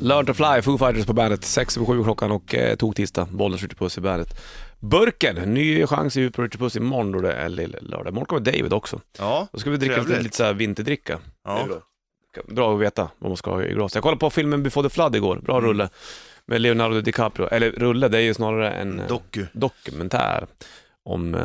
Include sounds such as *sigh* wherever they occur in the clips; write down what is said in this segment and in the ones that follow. Learn to fly, Foo Fighters på bandet. 6 över 7 klockan och eh, tog tisdag. Bollnäs Ritchie Puss i bandet. Burken, ny chans i på Ritchie Puss imorgon då det är lill-lördag. Imorgon kommer David också. Ja, Då ska vi dricka lite, Trevligt. lite så här vinterdricka. ja. Bra att veta vad man ska ha i glaset. Jag kollade på filmen Before the Flood igår, bra Mm. rulle. Med Leonardo DiCaprio, eller rulle, det är ju snarare Mm. en eh, Doku. dokumentär. Om, eh,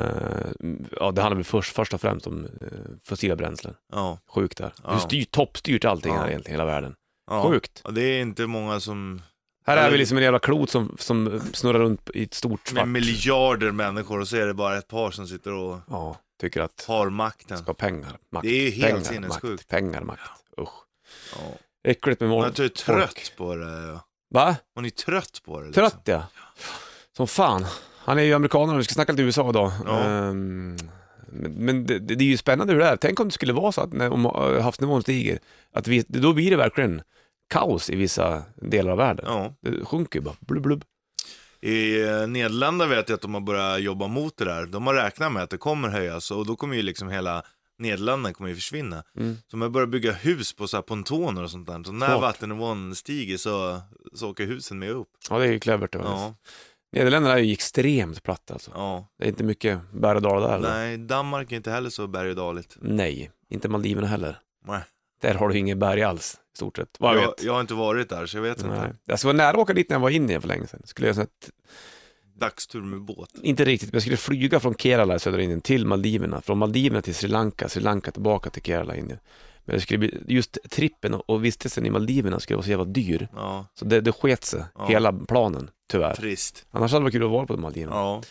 ja det handlar väl först, först och främst om eh, fossila bränslen. Ja. Sjukt där. Ja. Hur styr, toppstyrt allting Ja. här egentligen, hela världen. ja. Sjukt. Ja, Det är inte många som... Här är Eller- vi liksom en jävla klot som, som snurrar runt i ett stort svart... Med miljarder människor och så är det bara ett par som sitter och Ja, tycker att har makten. ska ha pengar, makt, Det är ju helt pengar, makt, sinnessjukt. pengar, makt. Usch. Ja. Äckligt med Hon mål. är typ Liksom. trött på det. ja. Va? Hon är trött på det. liksom. Trött ja. Som fan. Han är ju amerikanare, vi ska snacka lite USA idag. Ja. Ehm, men men det, det är ju spännande hur det är. Tänk om det skulle vara så att när, om eh, havsnivån stiger, att vi, då blir det verkligen kaos i vissa delar av världen. Ja. Det sjunker ju bara, blub, blub. I eh, Nederländerna vet jag att de har börjat jobba mot det där. De har räknat med att det kommer höjas och då kommer ju liksom hela Nederländerna kommer ju försvinna. Mm. Så de har börjat bygga hus på så här pontoner och sånt där. Så när Smart. vattennivån stiger så, så åker husen med upp. Ja, det är ju clevert. det var det. Ja, Nederländerna är ju extremt platt alltså. ja. Det är inte mycket berg och dalar där. eller? Nej, Danmark är inte heller så berg och daligt. Nej, inte Maldiverna heller. Nej. Där har du inget berg alls, i stort sett. Vad jag, Jag, vet. jag har inte varit där så jag vet Nej. inte. Jag skulle vara nära att åka dit när jag var i Indien för länge sedan. Skulle jag, säga att- Dagstur med båt. inte riktigt, men jag skulle flyga från Kerala i södra Indien till Maldiverna, från Maldiverna till Sri Lanka, Sri Lanka tillbaka till Kerala i Indien. Men det skulle bli, just trippen och- och vistelsen i Maldiverna skulle vara så jävla dyr, Ja, så det, det sket sig, Ja. hela planen, tyvärr. trist. Annars hade det varit kul att vara på Maldiverna. Ja,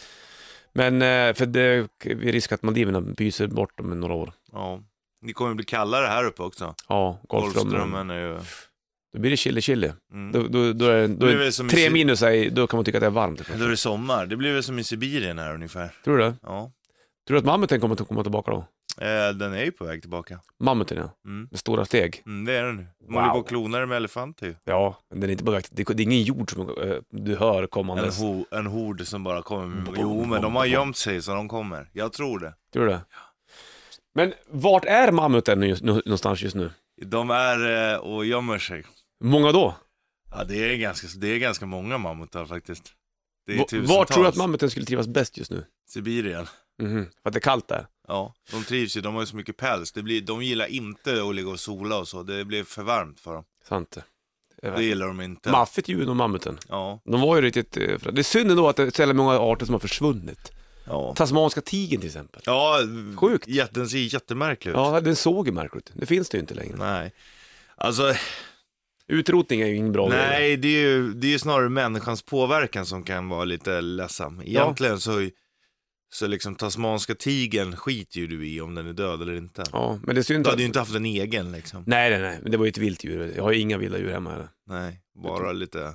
Men eh, för det är risk att Maldiverna pyser bort om några år. ja. Det kommer bli kallare här uppe också. Ja, Golfströmmen. Golfströmmen är ju... Då blir det chili-chili. Mm. Då, då, då är, då Det är blir väl som i tre Sy- minus, är, då kan man tycka att det är varmt. Då är det sommar. Det blir väl som i Sibirien här ungefär. Tror du det? Ja. Tror du att mammuten kommer att komma tillbaka då? Eh, den är ju på väg tillbaka. Mammuten ja, Mm. med stora steg. Mm, det är den nu. De Wow. håller på och klonar med elefanter ju. Ja, men den är inte på väg. Det, det är ingen jord som eh, du hör En, kommandes. ho, en hord som bara kommer. med- Bom, Jo, bom, men de har bom. gömt sig så de kommer. Jag tror det. Tror du det? Men vart är mammuten nu, nu, någonstans just nu? De är eh, och gömmer sig. Många då? Ja, det är ganska, det är ganska många mammutar faktiskt. Det är Va- tusentals. Var tror du att mammuten skulle trivas bäst just nu? Sibirien. Mhm, För att det är kallt där? Ja, de trivs ju. De har ju så mycket päls. Det blir, de gillar inte att ligga och sola och så. Det blir för varmt för dem. Sant. Det Det är gillar de inte. Maffigt ljud om mammuten. Ja, De var ju riktigt... eh, för- Det är synd ändå att det är så jävla många arter som har försvunnit. ja. Tasmanska tigern till exempel. Ja, Sjukt. jätte- den ser jättemärklig ut. Ja, den såg ju märkligt ut. Det finns det ju inte längre. Nej. Alltså, Utrotning är ju ingen bra grej. nej, det är, ju, det är ju snarare människans påverkan som kan vara lite ledsam. Egentligen så, så liksom tasmanska tigern skiter ju du i om den är död eller inte. Ja, men det är synd Du att... hade ju inte haft en egen liksom. Nej, nej, nej. Men det var ju ett vilt djur. Jag har ju inga vilda djur hemma heller. Nej, bara lite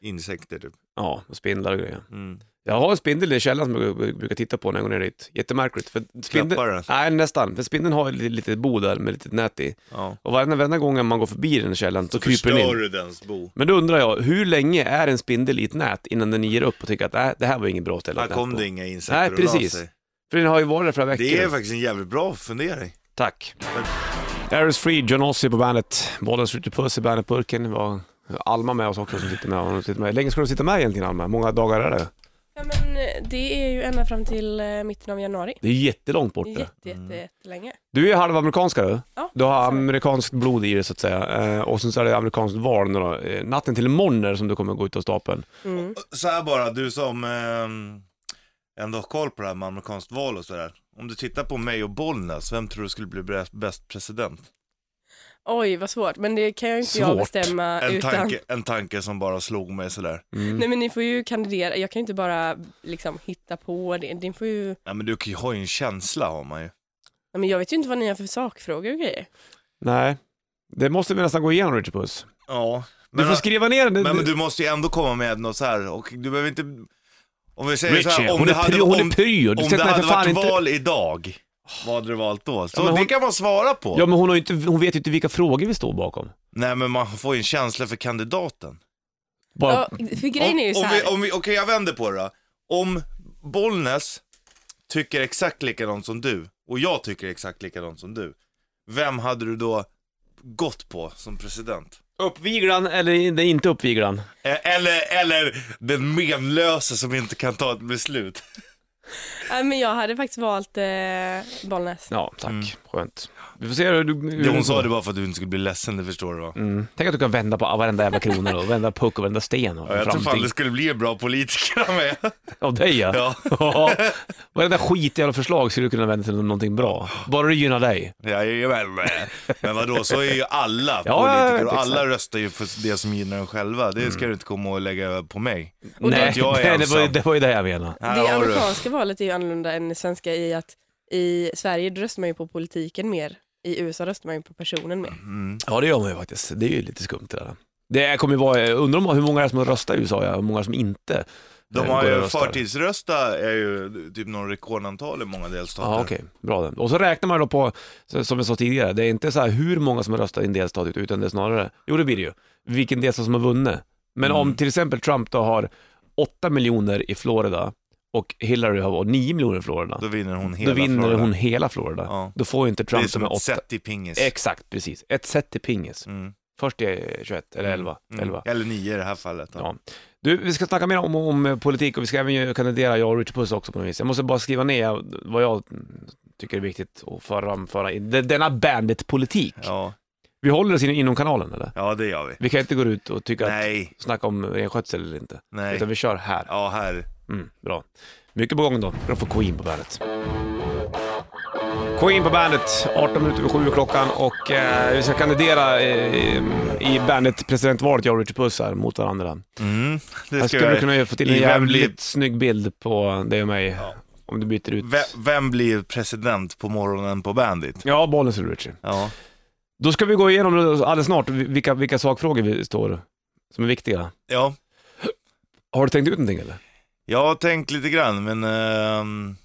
insekter typ. Ja, och spindlar och grejer. Mm. Jag har en spindel i källaren som jag brukar titta på när jag går ner dit. Jättemärkligt. För spindeln... Ah. Klappar den? Nej, nästan. För spindeln har ett litet bo där med lite nät i. Ja. Och varje varenda gång man går förbi den källaren så kryper den Förstör in. du dens bo? Men då undrar jag, hur länge är en spindel i ett nät innan den ger upp och tycker att nej, det här var ingen bra ställe Här att kom nät det på. inga insekter Nej, och la precis. sig. För den har ju varit där flera veckor. Det är faktiskt en jävligt bra fundering. Tack. Ares Free, John Ossie på bandet. Bollen skjuter puss i bandetburken. Det var Alma med oss också som sitter med. Hon sitter med. Hur länge ska du sitta med egentligen Alma? Hur många dagar är det? Ja, men eh, det är ju ända fram till eh, mitten av januari. Det är jättelångt bort Det är det. jätte, jätte, jättelänge. Du är halvamerikanska du. Ja, Du Mm. har så är det. amerikanskt blod i dig så att säga. Eh, och sen så är det amerikanskt val nu då. Eh, Natten till imorgon är det som du kommer gå ut av stapeln. Mm. Så här bara, du som eh, ändå har koll på det här med amerikanskt val och sådär. Om du tittar på mig och Bollnäs, vem tror du skulle bli bre- bäst president? Oj, vad svårt. Men det kan ju inte jag Svårt. bestämma En utan... tanke, en tanke som bara slog mig sådär. Mm. Nej, men ni får ju kandidera. Jag kan ju inte bara liksom hitta på det. Ni får ju... Ja men du kan ju- har ju en känsla har man ju. Ja, men jag vet ju inte vad ni har för sakfrågor och grejer. Nej, det måste vi nästan gå igenom Richard Puss. Ja. Du Men, får skriva ner den. men, men du måste ju ändå komma med något så här. och du behöver inte... Om vi säger så Richie, här, om hon det är hade, pry- hon om, är pryo. Du om sätter det mig för hade fan varit inte... val idag, vad hade du valt då? Så Ja, men det hon- kan man svara på. Ja men hon, har ju inte, hon vet ju inte vilka frågor vi står bakom. Nej men man får ju en känsla för kandidaten. Bara... Ja, för grejen är Om- ju så om här. vi, om vi, Okej, jag vänder på det då. Om Bollnäs tycker exakt likadant som du och jag tycker exakt likadant som du, vem hade du då gått på som president? Uppviglan eller in- inte uppviglan? Eh, Eller, eller den menlösa som inte kan ta ett beslut. Nej, men jag hade faktiskt valt eh, Bollnäs. Ja, tack. Mm. Skönt. Vi får se hur du... Hur Det hon sa det bara för att du inte skulle bli ledsen, det förstår du va? Mm. Tänk att du kan vända på varenda jävla krona då, vända puck och vända sten och Ja, jag tror fan framting. det skulle bli en bra politiker av mig. Av dig *laughs* ja. Ja, Ja, varenda skit i alla förslag skulle du kunna vända till någonting bra. Bara det gynnar dig. jajamän. Men vadå, så är ju alla Ja, jag politiker vet, och alla exakt. Mm. röstar ju för det som gynnar dem själva. Det ska du inte komma och lägga på mig. Och Nej, *laughs* att jag är det, det, var, ju- ensam. det var ju det jag menade. Här har det du. amerikanska valet är ju annorlunda än det svenska i att i Sverige då röstar man ju på politiken mer. I USA röstar man ju på personen mer. Mm. Ja, det gör man ju faktiskt. Det är ju lite skumt det där. Det kommer ju vara, jag undrar om hur många det är som röstar i USA, ja, hur många som inte De eh, har går och ju röstar. förtidsrösta, är ju typ någon rekordantal i många delstater. Ja, okej. Bra det. Och så räknar man då på, så- som jag sa tidigare, det är inte så här hur många som har röstat i en delstat, utan det är snarare, jo det blir det ju, vilken delstat som har vunnit. Men om Mm. till exempel Trump då har 8 miljoner i Florida och Hillary har 9 miljoner i Florida, Då vinner hon hela då vinner Florida. hon hela Florida. Ja. Då får ju inte Det är Trump som de här ett 8. set i pingis. Exakt, precis. Ett set till pingis. Mm. Först är 21, eller 11. Mm. 11. Eller nio i det här fallet. då. Ja. Du, vi ska snacka mer om, om eh, politik och vi ska även ju kandidera, jag och Richard Puss också på något vis. Jag måste bara skriva ner vad jag mm, tycker är viktigt att framföra i de- denna bandit-politik. Ja. Vi håller oss in- inom kanalen eller? ja, det gör vi. Vi kan inte gå ut och tycka att, Nej, snacka om renskötsel eller inte, nej. utan vi kör här. Ja, här. Mm, bra. Mycket på gång då. Då får Queen på bandet. Queen på bandet, 18 minuter över 7 är klockan och eh, vi ska kandidera eh, i bandet presidentvalet, jag och Richard Puss här, mot varandra. Mm. Det Jag ska skulle jag... kunna ju få till en I vem jävligt blir- snygg bild på dig och mig Ja. om du byter ut. Ve- Vem blir president på morgonen på Bandit? Ja, bollen ser du Richie. Ja. Då ska vi gå igenom alldeles snart vilka, vilka sakfrågor vi står som är viktiga. ja, Har du tänkt ut någonting eller? jag har tänkt lite grann, men ehm,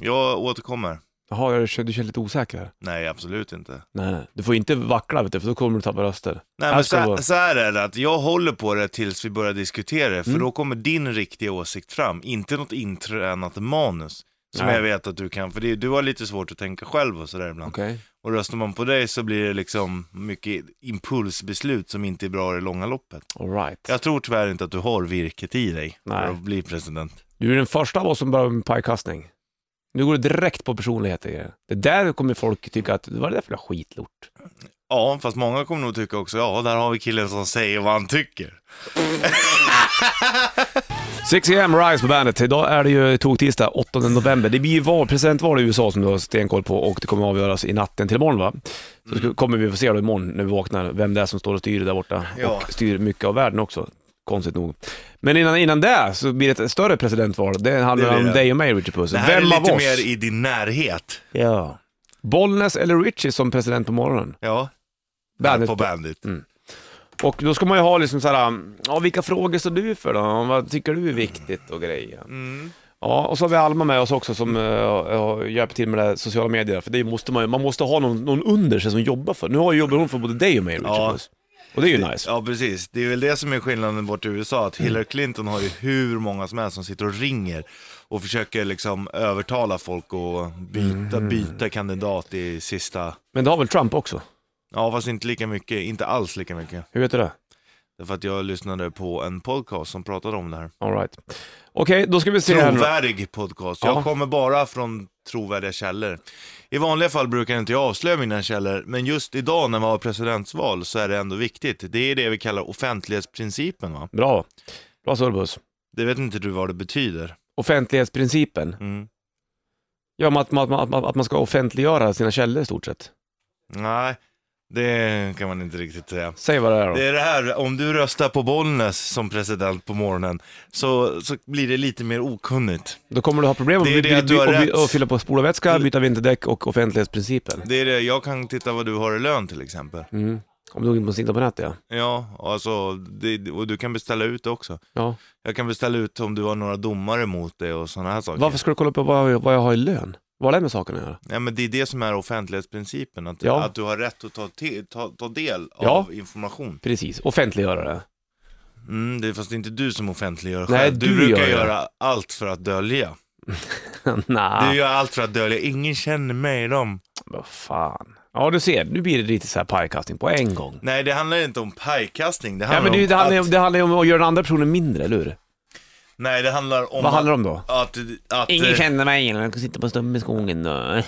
jag återkommer. Jaha, jag känner, du känner lite osäker här. Nej, absolut inte. Nej, nej. Du får inte vackla vet du, för då kommer du tappa röster. Nej, Här men ska det så, vara. så här är det, att jag håller på det tills vi börjar diskutera det, för Mm. då kommer din riktiga åsikt fram, inte något intränat manus. Som Nej. jag vet att du kan, för det, du har lite svårt att tänka själv och sådär ibland. Okej. Och röstar man på dig så blir det liksom mycket impulsbeslut som inte är bra i det långa loppet. Alright. Jag tror tyvärr inte att du har virket i dig Nej. för att bli president. Du är den första av oss som börjar med pajkastning. Nu går det direkt på personligheter. i det. Det där kommer folk tycka att, vad är det där för jävla skitlort? Ja, fast många kommer nog tycka också, ja, där har vi killen som säger vad han tycker. 6 AM Rise på bandet. Idag är det ju tog-tisdag 8 november. Det blir ju val, presidentval i USA som du har stenkoll på och det kommer avgöras i natten till imorgon va? Så Mm. ska- kommer vi få se då imorgon när vi vaknar vem det är som står och styr där borta Ja. och styr mycket av världen också. Konstigt nog. Men innan, innan det så blir det ett större presidentval. Det handlar Det blir om det. dig och mig Richard Puss. Det här Vem är av lite oss? mer i din närhet. Ja. Bollnäs eller Richie som president på morgonen? Ja, Bandet. på Bandit. Och då ska man ju ha liksom såhär, ja vilka frågor står du för då? Vad tycker du är viktigt och grejer? Mm. Ja, och så har vi Alma med oss också som eh, ja, hjälper till med det här sociala medier. För det måste man ju, man måste ha någon, någon under sig som jobbar för. Nu har ju jobbat hon för både dig och mig Richard Ja. Puss. Och det är ju nice. Ja, precis. Det är väl det som är skillnaden bort i USA, Mm. att Hillary Clinton har ju hur många som helst som sitter och ringer och försöker liksom övertala folk att byta, Mm. byta kandidat i sista... Men det har väl Trump också? Ja, fast inte lika mycket, inte alls lika mycket. Hur vet du det? Därför att jag lyssnade på en podcast som pratade om det här. Alright. Okej, då ska vi se här nu. Trovärdig podcast. Jag Ja. kommer bara från trovärdiga källor. I vanliga fall brukar inte jag avslöja mina källor, men just idag när vi har presidentsval så är det ändå viktigt. Det är det vi kallar offentlighetsprincipen va? Bra. Bra Sorbus. Det vet inte du vad det betyder. Offentlighetsprincipen. Mm. Ja, men att, man- att, man- att man ska offentliggöra sina källor i stort sett. Nej, det kan man inte riktigt säga. Säg vad det är då. Det är det här, om du röstar på Bollnäs som president på morgonen så, så blir det lite mer okunnigt. Då kommer du ha problem Det är med det att att du har by- by- rätt. och fylla på spolarvätska, byta vinterdäck och offentlighetsprincipen. Det är det, jag kan titta vad du har i lön till exempel. Mm. Om du går in på sin internet ja. Ja, alltså, det, och du kan beställa ut det också. ja. Jag kan beställa ut om du har några domare mot dig och sådana här saker. Varför ska du kolla upp vad jag, vad jag har i lön? Vad har det med saken att göra? Nej, men det är det som är offentlighetsprincipen, att, Ja. att du har rätt att ta, te, ta, ta del Ja. av information. Precis, offentliggöra det. *laughs* Mm, det är fast det är inte du som offentliggör Nej, själv. Du, du brukar gör det. göra allt för att dölja. Nej, Ah. Du gör allt för att dölja. Ingen känner mig i dem. vad fan. Ja, du ser. Nu blir det lite så här pajkastning på en gång. Nej, det handlar inte om pajkastning. Det Ja, handlar men det, är ju- det, handlar, om ju att, om- det handlar ju om att göra den andra personen mindre, eller hur? Nej, det handlar om Vad handlar att, det om då? att, att Ingen eh, känner mig, jag sitter på stummen i skogen och...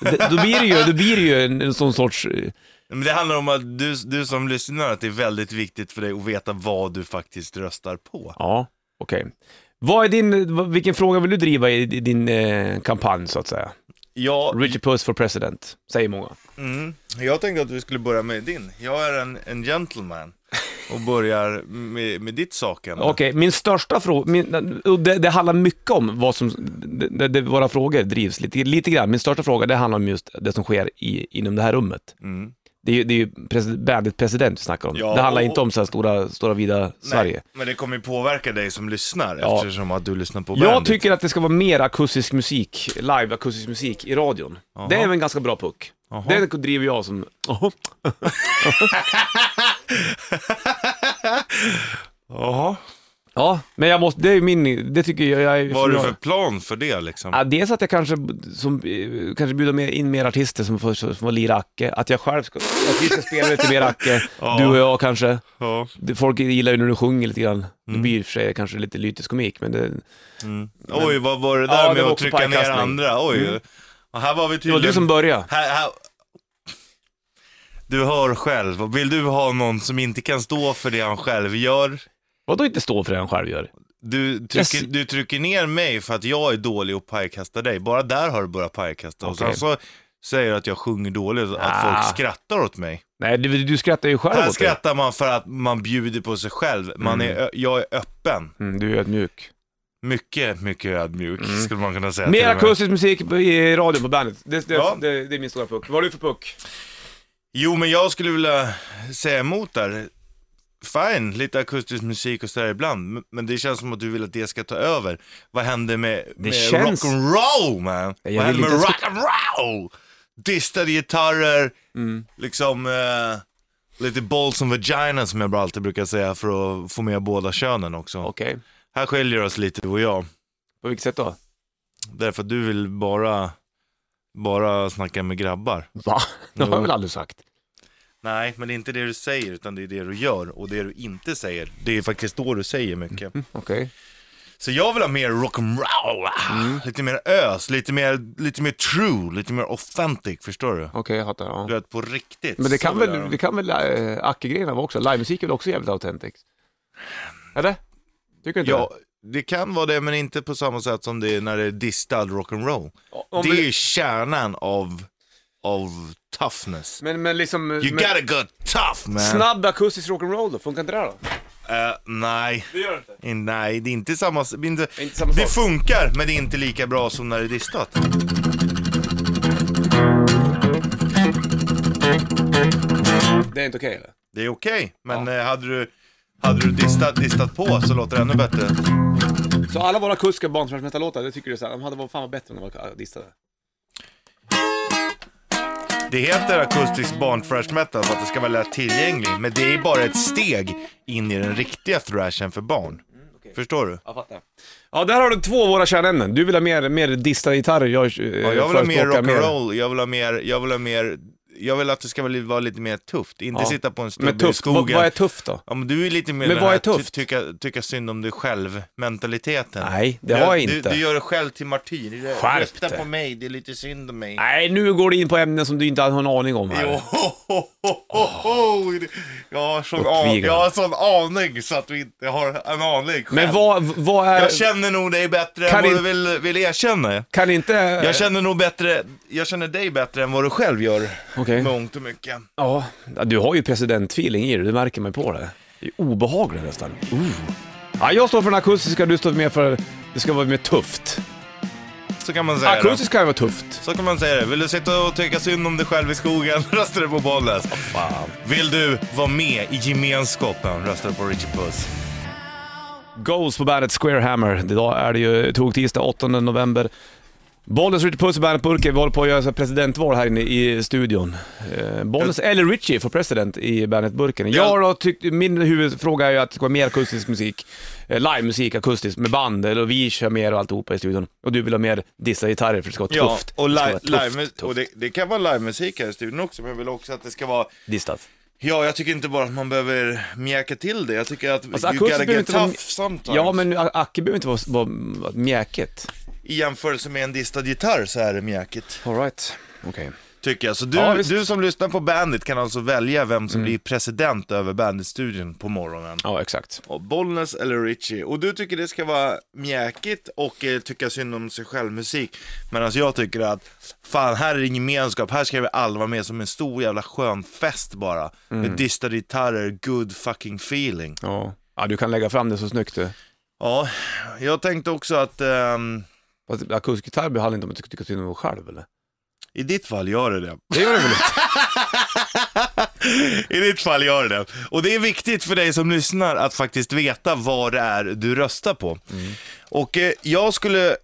Det- *laughs* då blir det ju, då blir det ju en, en sån sorts... eh, men det handlar om att du, du som lyssnar, att det är väldigt viktigt för dig att veta vad du faktiskt röstar på. Ja, okej. Vad är din, vad- vilken fråga vill du driva i, i din eh, kampanj så att säga? Ja, Richard Puss for president, säger många. Mm. Jag tänkte att vi skulle börja med din. Jag är en, en gentleman och börjar med, med ditt sakämne. Okej, min största fråga, min, och det, det handlar mycket om vad som, det, det, det, våra frågor drivs lite, lite grann. Min största fråga, det handlar om just det som sker i, inom det här rummet. Mm. Det är ju, det är ju president, bandet president vi snackar om. Ja, det handlar och- inte om så här stora, stora vida Sverige. Nej, men det kommer ju påverka dig som lyssnar Ja. eftersom att du lyssnar på Jag bandet. tycker att det ska vara mer akustisk musik, live akustisk musik i radion. Jaha. Det är väl en ganska bra puck. Jaha. Den driver jag som... Jaha. Jaha. Ja, men jag måste, det är ju min, det tycker jag, jag är... Vad har du jag- för plan för det liksom? Ja, dels att jag kanske, som, eh, kanske bjuder med, in mer artister som får, som får lira Acke, att jag själv ska, att vi ska spela lite mer Acke, *laughs* Ja. du och jag kanske. Ja. Det- Folk gillar ju när du sjunger lite grann. Det blir i och för sig kanske lite lytisk komik, men det, Mm. Oj, vad var det där Ja, det med var att på trycka ner pajkastning. andra? Oj. Och här var vi det var tydligen... du som började. här, här... Du hör själv. Och Vill du ha någon som inte kan stå för det han själv gör, Vadå inte stå för det han själv gör? Du trycker, Jag s- du trycker ner mig för att jag är dålig och pajkastar dig. Bara där har du börjat pajkasta. Och sen Okej. så säger du att jag sjunger dåligt, att Ah. folk skrattar åt mig. Nej, du, du skrattar ju Mm. själv Här åt det. skrattar man för att man bjuder på sig själv. Man är, ö- jag är öppen. Mm, du är ödmjuk. Mycket, mycket ödmjuk Mm. skulle man kunna säga. till Mer och med. akustisk musik i radion på bandet. Det, det, Ja. det, det är min stora puck. Vad har du för puck? Jo, men jag skulle vilja säga emot där. Fine, lite akustisk musik och sådär ibland. men- Men det känns som att du vill att det ska ta över. Vad händer med, med känns- rock'n'roll man? Jag Vad vill händer med inte rock'n'roll? Distade gitarrer, Mm. liksom eh, lite balls and vagina som jag bara alltid brukar säga för att få med båda könen också. Okej. Här skiljer oss lite du och jag. På vilket sätt då? Därför att du vill bara, bara snacka med grabbar. Va? *laughs* Det har Jo. jag väl aldrig sagt? Nej, men det är inte det du säger, utan det är det du gör. Och det du inte säger, det är faktiskt då du säger mycket. Okej. Så jag vill ha mer rock'n'roll, Mm. lite mer ös, lite mer, lite mer true, lite mer authentic, förstår du? Okej, jag fattar. Ja. Du vet, på riktigt. Men det Så kan vill jag väl, ha det dem. kan väl äh, Acke-grejerna vara också? Livemusik är väl också jävligt autentiskt? Eller? Tycker du inte Ja, det kan vara det, men inte på samma sätt som det är när det är distad rock'n'roll. det? Om Det är vi- ju kärnan av, av toughness. Men, men liksom... You Men, gotta go tough man! snabb akustisk rock'n'roll då? Funkar inte det här då? Eh, nej. Det gör det inte. In- Nej, det är inte samma, det är inte, är inte samma det sak. funkar, men det är inte lika bra som när det är distat. Det är inte okej eller? Det är okej, men eh, hade du, hade du distat, distat på så låter det ännu bättre. Så alla våra kuska barnsmärsmästarlåtar, det tycker du såhär, de hade varit fan vad bättre om de var distade? Det heter akustisk barnthrash metal för att det ska vara lätt tillgänglig, men det är bara ett steg in i den riktiga thrashen för barn. Mm, okej. Förstår du? Jag fattar. Ja, där har du två av våra kärnämnen. Du vill ha mer, mer distade gitarrer, jag, eh, Ja, jag vill ha mer förespråkar rock'n'roll, jag vill ha mer, jag vill ha mer, jag vill att det ska vara lite- vara lite mer tufft. Inte Ja. sitta på en Men stubbe i tufft, vad, skogen. vad är tufft då? Ja, men du är lite mer Men den vad här är tufft? Ty tycka, tycka synd om dig själv-mentaliteten. Nej, det du, har jag du- inte. Du gör dig själv till martyr. Du- Skärp Rösta dig. på mig, det är lite synd om mig. Nej, nu går du in på ämnen som du inte har en aning om här. Jo, *laughs* ho, ho, ho, ho, ho. Jag, har sån an, Uppvigling. jag har sån aning så att du inte har en aning själv. Men vad, vad är... Jag känner nog dig bättre Kan än vad in- du vill, vill erkänna. Kan inte... Jag känner nog bättre, jag känner dig bättre än vad du själv gör. Okej. Mångt och mycket. Ja, du har ju presidentfeeling i dig, det märker man ju på det. Det är obehagligt nästan. Uh. Ja, jag står för den akustiska, du står mer för... Det ska vara mer tufft. Så kan man säga det. Akustiskt kan ju vara tufft. Så kan man säga det. Vill du sitta och tycka synd om dig själv i skogen, *laughs* röstar du på Bollnäs. Fan. Vill du vara med i gemenskapen, röstar du på Richard Puss. Goals på bandet Square Hammer. Idag är det ju tog tisdag 8 november. Bollens Richie Puss i Bandet Burke, vi håller på att göra så här presidentval här inne i studion. Eh, Bollens eller Richie för president i Bandet Burken. Jag då tyckte, min huvudfråga är ju att det ska vara mer akustisk musik, eh, livemusik akustiskt med band, eller vi kör mer och alltihopa i studion. Och du vill ha mer dissa gitarrer för det ska vara Ja, tufft. och, det ska li- vara tufft, live, tufft. och det, det kan vara livemusik här i studion också, men jag vill också att det ska vara Distat. Ja, jag tycker inte bara att man behöver mjäka till det. Jag tycker att Alltså, you akustiskt gotta behöver get inte tough vara- sometimes. Ja, men a- Acke behöver inte vara, vara vara mjäkigt. I jämförelse med en distad gitarr så är det mjäkigt, Alright, okej. tycker jag. Så du, Ja, visst. Mm. du som lyssnar på Bandit kan alltså välja vem som blir president över Bandit-studion på morgonen. Ja, exakt. Och Bollnäs eller Richie. Och du tycker det ska vara mjäkigt och eh, tycka synd om sig själv-musik. Medan jag tycker att, fan här är det gemenskap, här ska vi alla vara med som en stor jävla skön fest bara. Med distade gitarrer, good fucking feeling. Ja. ja, du kan lägga fram det så snyggt du. Ja, jag tänkte också att ehm, Fast akustisk gitarr handlar inte om att tycka synd om dig själv eller? i ditt fall gör det det. Det gör det väl inte? I ditt fall gör det det. Och det är viktigt för dig som lyssnar att faktiskt veta vad det är du röstar på. Och eh, jag skulle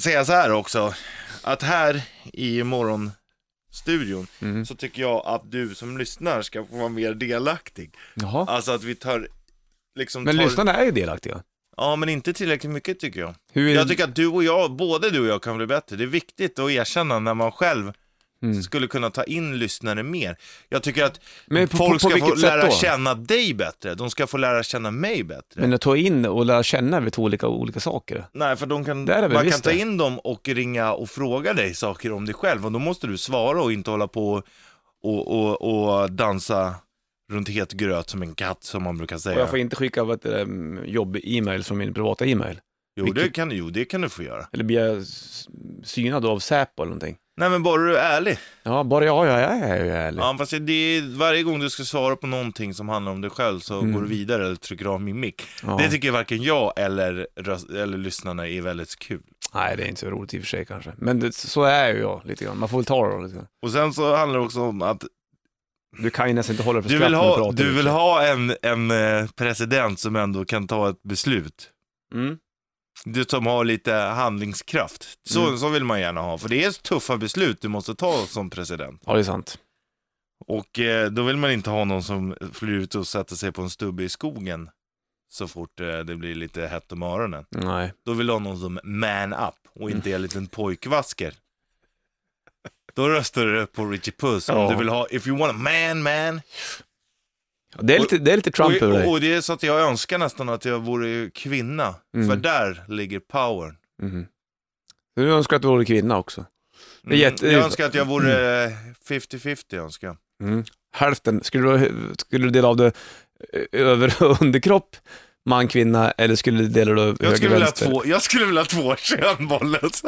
säga så här också, att här i morgonstudion så tycker jag att du som lyssnar ska få vara mer delaktig. Jaha. Alltså att vi tar, liksom Men tar... lyssnarna är ju delaktiga. Ja, men inte tillräckligt mycket tycker jag. Hur är Jag det- tycker att du och jag, både du och jag kan bli bättre. Det är viktigt att erkänna när man själv Mm. skulle kunna ta in lyssnare mer. Jag tycker att Men på- folk på- på ska få vilket sätt lära då? känna dig bättre. De ska få lära känna mig bättre. Men att ta in och lära känna är väl två olika, olika saker? Nej, för de kan, Det är det väl, man kan visst ta det. in dem och ringa och fråga dig saker om dig själv och då måste du svara och inte hålla på och, och, och dansa runt het gröt som en katt som man brukar Och säga. jag får inte skicka vad heter det, jobb-e-mail från min privata e-mail. Jo, det kan, jo, det kan du få göra. Eller blir jag s- synad av Säpo eller någonting? Nej, men bara du är ärlig. Ja, bara jag, jag är ju ärlig. Ja, fast det är, varje gång du ska svara på någonting som handlar om dig själv så går du vidare eller trycker av min mick. Mm. Ja. Det tycker varken jag eller, röst- eller lyssnarna är väldigt kul. Nej, det är inte så roligt i och för sig kanske. Men det, så är ju jag lite grann. Man får väl ta det då lite grann. Och sen så handlar det också om att Du kan ju nästan inte hålla dig för du skratt vill när ha, pratar, i och du för vill sig. ha en, en eh, president som ändå kan ta ett beslut. Mm. Du som har lite handlingskraft. Så, Mm. så vill man gärna ha, för det är tuffa beslut du måste ta som president. Ja, det är sant. Och eh, då vill man inte ha någon som flyr ut och sätter sig på en stubbe i skogen så fort eh, det blir lite hett om öronen. Nej. Då vill du ha någon som man up och inte är en liten pojkvasker. Då röstar du på Richie Puss om Ja. du vill ha If you want a man man. Det är lite, det är lite Trump över Och, dig. och det är så att jag önskar nästan att jag vore kvinna. Mm. För där ligger powern. Mhm. Så Du önskar att du vore kvinna också. Det är Mm. jätte- Jag önskar att jag vore eh, 50-50 önskar jag. Mm. Hälften, skulle du, skulle du dela av det eh, över *laughs* och underkropp, man, kvinna, eller skulle du dela det Jag höger, skulle, vilja ha vänster? två, jag skulle vilja ha två *laughs* könbollet.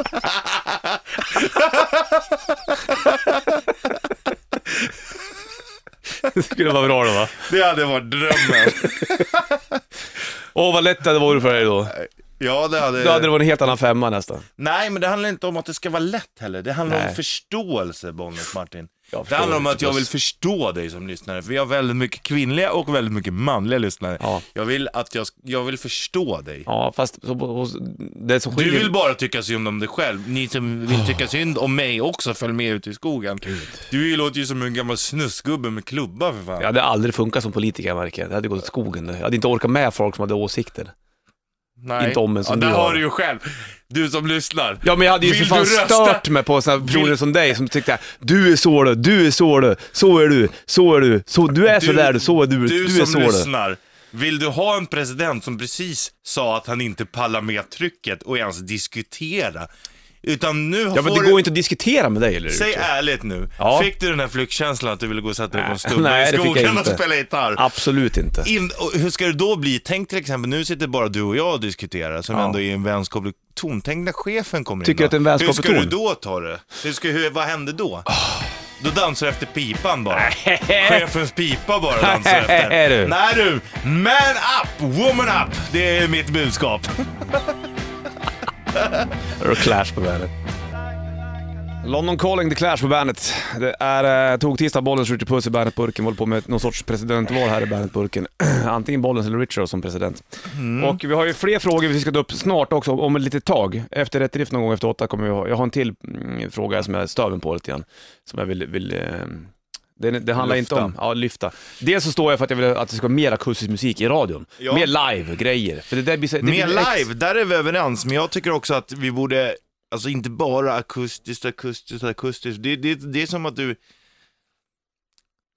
Det *laughs* skulle vara bra då va? Det hade varit drömmen. *laughs* Åh vad lätt det hade varit för dig Eh. då. Ja, det hade... Då hade det varit en helt annan femma nästan. Nej, men det handlar inte om att det ska vara lätt heller. Det handlar om Nej. förståelse, Bonnet Martin. Jag Det förstår handlar om inte, att jag Puss. vill förstå dig som lyssnare, för jag har väldigt mycket kvinnliga och väldigt mycket manliga lyssnare. Ja. Jag vill att jag, jag vill förstå dig. Ja, fast så, hos- det Ah. som Du skiljer... vill bara tycka synd om dig själv. Ni som vill tycka synd om mig också, följ med ut i skogen. Du låter ju som en gammal snusgubbe med klubba för fan. Jag hade aldrig funkat som politiker jag märker jag. Det hade gått åt skogen. Jag hade inte orkat med folk som hade åsikter. Nej. inte om en som ja, du där har har. du ju själv. Du som lyssnar. Ja men jag hade ju Vill för fan du rösta? stört mig på sådana personer Vill- som dig som tyckte du är så du, du är så du, så är du, så är du, så, du Alltså, är så där du, så är du, du, är som så du. lyssnar, vill du ha en president som precis sa att han inte pallar med trycket och ens diskutera? Utan nu Ja men får det går inte att diskutera med dig eller hur? Säg ärligt nu, Ja. fick du den här flyktkänslan att du ville gå och sätta dig *laughs* på en Nej, stubbe nej, i det fick jag skogen och inte. spela gitarr? Absolut inte. In, och hur ska det då bli? Tänk till exempel, nu sitter bara du och jag och diskuterar, som Ja. ändå är en vänskaplig ton. Tänk när chefen kommer Tycker in. att det är Ah. en då. vänskaplig Hur ska du ton? då ta det? Hur ska, hur, vad händer då? Då dansar du efter *laughs* pipan bara. Chefens pipa bara dansar Är efter. du? Nej du, man up, woman up. Det är mitt budskap. Är det clash på världen? London Calling, The Clash på bandet. Det är eh, tog-tisdag, bollen skjuter puss i bandetburken. Vi håller på med någon sorts presidentval här i bandetburken. *clears throat* Antingen Bollens eller Richard som president. Mm. Och vi har ju fler frågor vi ska ta upp snart också, om ett litet tag. Efter rätt drift någon gång efter åtta kommer vi ha, jag har en till mm, fråga som jag är stöven på lite grann. Som jag vill, vill eh, det, det handlar Lyfta. inte om, ja lyfta. Dels så står jag för att jag vill att det ska vara mer akustisk musik i radion. Ja. Mer live-grejer. För det där blir så- det Mer blir ex- live, där är vi överens, men jag tycker också att vi borde, alltså inte bara akustiskt, akustiskt, akustiskt. Det, det, det är som att du...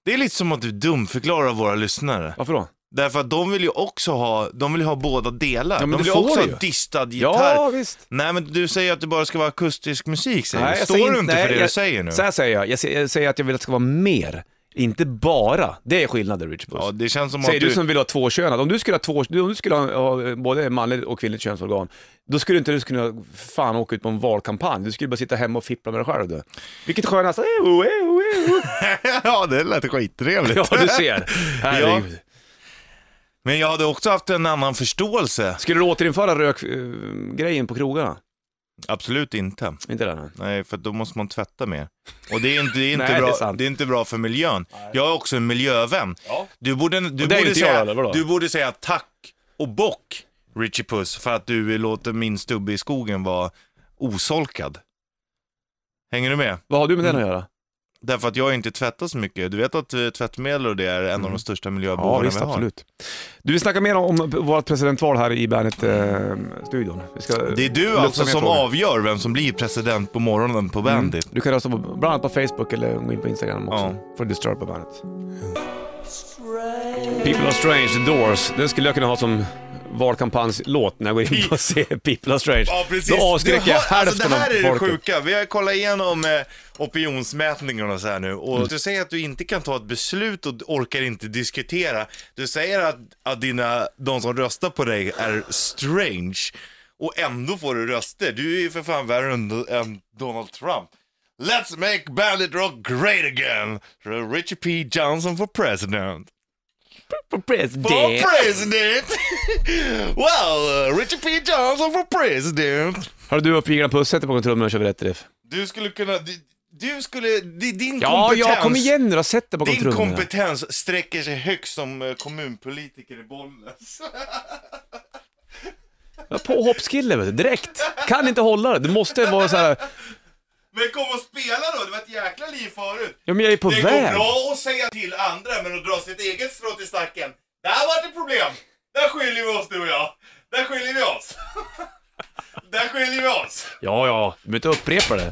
Det är lite som att du dumförklarar våra lyssnare. Varför då? Därför att de vill ju också ha, de vill ju ha båda delar. Ja, men det de vill ju får också du ha ju. distad gitarr. Ja, visst. Nej men du säger att det bara ska vara akustisk musik säger Nej, du. jag Står säger inte- du inte nej, för det du jag- säger nu? Så här säger jag, jag säger, jag säger att jag vill att det ska vara mer, inte bara. Det är skillnaden Rich Puss. Ja, det känns som säger att du... du... som vill ha tvåkönad, om du skulle ha, två, om du skulle ha, ha både manligt och kvinnligt könsorgan, då skulle inte du kunna fan åka ut på en valkampanj. Du skulle bara sitta hemma och fippla med dig själv du. Vilket skönast, ejo, ejo, ejo. *laughs* ja, det lät skittrevligt. Ja du ser, herregud. *laughs* Men jag hade också haft en annan förståelse. Skulle du återinföra rökgrejen på krogarna? Absolut inte. Inte det? nej. Nej, för då måste man tvätta mer. Och det är inte, det *laughs* är inte, Nej, det är bra, det är sant. inte bra för miljön. Jag är också en miljövän. Du borde, du, Och det är borde inte jag, säga, eller vadå? du borde säga tack och bock, Richie Puss, för att du låter min stubbe i skogen vara osolkad. Hänger du med? Vad har du med den att göra? Därför att jag inte tvättar så mycket. Du vet att eh, tvättmedel och det är en av de största miljöbovarna Mm. Ja, visst, vi har. absolut. Du, vi snackar mer om vårt presidentval här i Bandet-studion. Det är du alltså som avgör vem som blir president på morgonen på Bandit. Mm. Du kan rösta på, bland annat på Facebook eller gå in på Instagram också. Ja. För Disturbed på bandet. People are strange, The Doors. Den skulle jag kunna ha som valkampanjlåt när jag går in *laughs* och ser People are strange. Ja precis. Då avskräcker Du jag hör- alltså, hälften Det här av är det folket. sjuka. Vi har kollat igenom eh, opinionsmätningarna så här nu Mm. och du säger att du inte kan ta ett beslut och orkar inte diskutera. Du säger att, att dina, de som röstar på dig är strange och ändå får du röster. Du är ju för fan värre än, än Donald Trump. Let's make bandit rock great again! Richard P. Johnson for president. For For president. president! *laughs* well, uh, Richard P. Johnson for president! Har du uppviglarna på sätter på trummorna och kör vi rätt riff? Du skulle kunna, du, du skulle, di- din Ja, kompetens, ja, kom igen nu då. Sätt dig bakom din trummorna. kompetens sträcker sig högst som eh, kommunpolitiker i Bollnäs. *laughs* Ja, Påhoppskille vet du, direkt. Kan inte hålla det. Du måste vara så här. Men kom och spela då, det var ett jäkla liv förut. ja men jag är på det går väg. bra att säga till andra, men att dra sitt eget strå till stacken, där var det problem. Där skiljer vi oss du och jag. Där skiljer vi oss. *laughs* där skiljer vi oss. Ja, ja, du behöver inte upprepa det.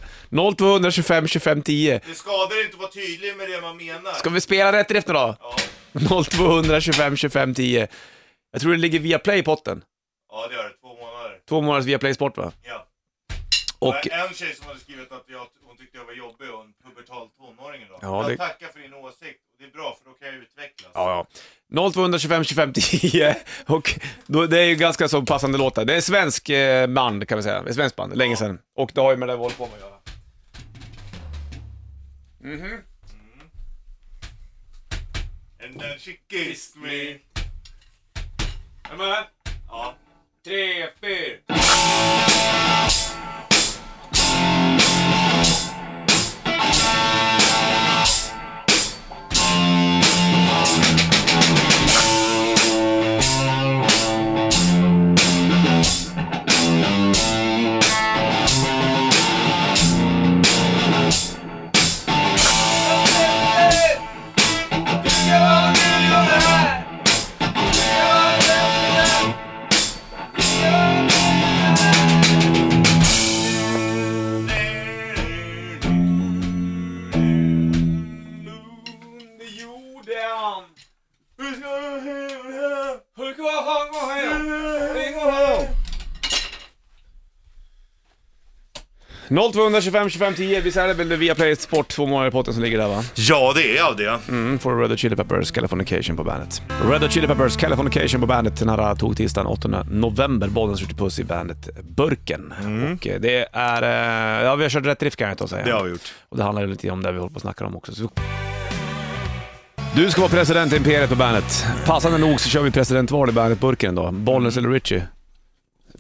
0225 25 10. Det skadar inte att vara tydlig med det man menar. Ska vi spela rätt riff nu då? Ja, 0225 25 10. Jag tror det ligger via play i potten. ja, det gör det. Två månader. Två månaders via play sport va? Ja. Och Det var en tjej som hade skrivit att jag, hon tyckte jag var jobbig och en pubertal tonåring idag. Ja, det- Jag tackar för din åsikt. Det är bra för då kan jag utvecklas. Ja, ja. 0225 25 10 och då, det är ju ganska så passande låtar. Det är svensk eh, band kan vi säga, ett svenskt band, länge sedan. Och det har ju med det vi håller på med att göra. And then she kissed me. Är du med? Ja. Tre, fyra. Noll 225 25 10, visst är det väl Viaplay Sport två månader i potten som ligger där va? Ja, det är av det. Mm, får Red Hot Chili Peppers Californication på bandet. Red Hot Chili Peppers Californication på bandet den här tog tisdagen 8 november. Bollen skjuter puss i bandet Burken. Och eh, det är, eh, ja vi har kört rätt drift kan jag inte säga. Mm. Det har vi gjort. Och det handlar ju lite om det vi håller på att snacka om också. Så... Du ska vara president i Imperiet på bandet. Passande nog så kör vi presidentval i bandet Burken idag. Bollnäs eller Richie?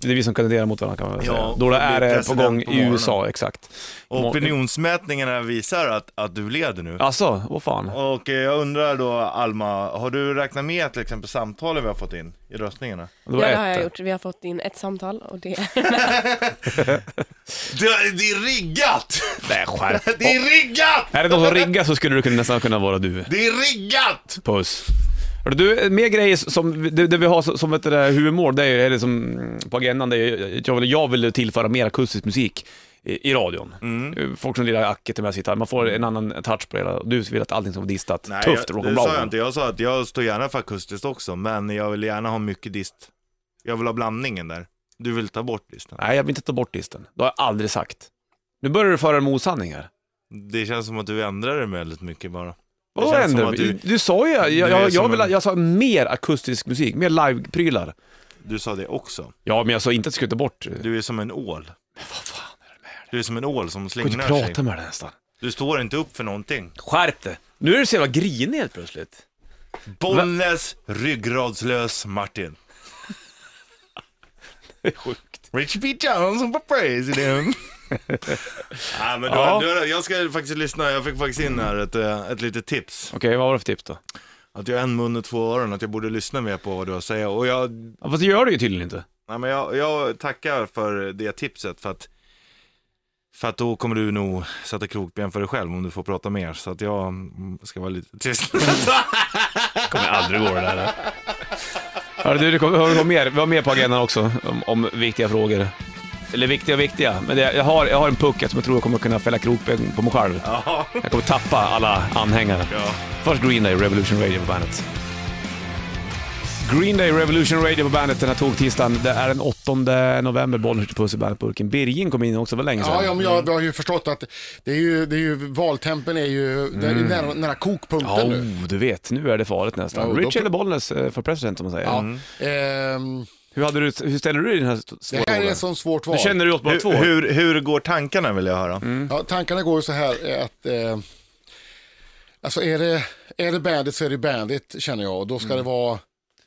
Det är vi som kandiderar mot varandra kan man väl Mm. Ja, säga. och då blir är det på president gång på i morgonen. USA, exakt. Och Opinionsmätningarna visar att, att du leder nu. Alltså, vad fan. Och eh, jag undrar då Alma, har du räknat med till exempel samtalen vi har fått in i röstningarna? Det Ja, var det ett. har jag gjort. Vi har fått in ett samtal och det Det, det är riggat! *laughs* Nej, skärp Det är riggat! Är det någon som riggar så skulle det kunna- nästan kunna vara du. Det är riggat! Puss. Hörru Du, mer grejer som, det, det vi har som ett där huvudmål, det är, eller som på agendan, det är, jag, vill, jag vill tillföra mer akustisk musik i, i radion. Mm. Folk som lirar acket till med sitt här, man får en annan touch på det hela. Du vill att allting ska vara distat, tufft jag, det sa jag rock'n'roll. inte. Jag sa att jag står gärna för akustiskt också, men jag vill gärna ha mycket dist. Jag vill ha blandningen där. Du vill ta bort disten. Nej, jag vill inte ta bort disten. Det har jag aldrig sagt. Nu börjar du föra en osanning här. Det känns som att du ändrar dig väldigt mycket bara. Det Vad känns som händer? att Du, du- du sa ju, jag, du är jag, jag, som vill, en- jag sa mer akustisk musik, mer live-prylar. Du sa det också. Ja, men jag sa inte att jag skulle ta bort... Du är som en ål. Vad fan är det med dig? Du är som en ål som Jag kan slingrar inte sig. prata med dig nästan. Du står inte upp för någonting. Skärp dig! Nu är du så jävla grinig helt plötsligt. Bollnäs ryggradslös Martin. Det är sjukt. Richie P. Johnson for president. ja, men du, Ja. du, jag ska faktiskt lyssna, jag fick faktiskt in här ett, eh, ett litet tips. Okej, vad var det för tips då? Att jag har en mun och två öron, att jag borde lyssna mer på vad du har att säga. Och jag, Ja, fast det gör du ju tydligen inte. nej, men jag, jag tackar för det tipset för att, för att då kommer du nog sätta krokben för dig själv om du får prata mer. Så att jag mm, ska vara lite tyst. kommer aldrig gå det där. Hörru du, det kommer, hör, mer. vi har mer på agendan också om, om viktiga frågor. Eller viktiga och viktiga, men det, jag, har, jag har en puck som jag tror jag kommer kunna fälla krokben på mig själv. *laughs* ja. Jag kommer tappa alla anhängare. Ja. Först Green Day, Revolution Radio på bandet. Green Day, Revolution Radio på bandet den här tågtisdagen. Det är den 8 november, bollen skjuter puss i bandetburken. Birgin kom in också, det var länge sedan. Ja, ja men Mm. jag, jag har ju förstått att det är ju, det är ju, valtempen är ju det är ju nära, nära kokpunkten Mm. Ja, nu. oh, du vet, nu är det farligt nästan. Ja, då- Rich eller Bollnäs eh, för president som man säger. Ja. Ehm, Hur, hade du, hur ställer du dig i den här st- svåra det här är frågan? ett sånt svårt Du val. känner dig åt bara två? hur, hur, hur går tankarna vill jag höra. Ja, tankarna går ju så här eh, att eh, alltså är det, är det bandit så är det bandit känner jag. Och då ska Mm. det vara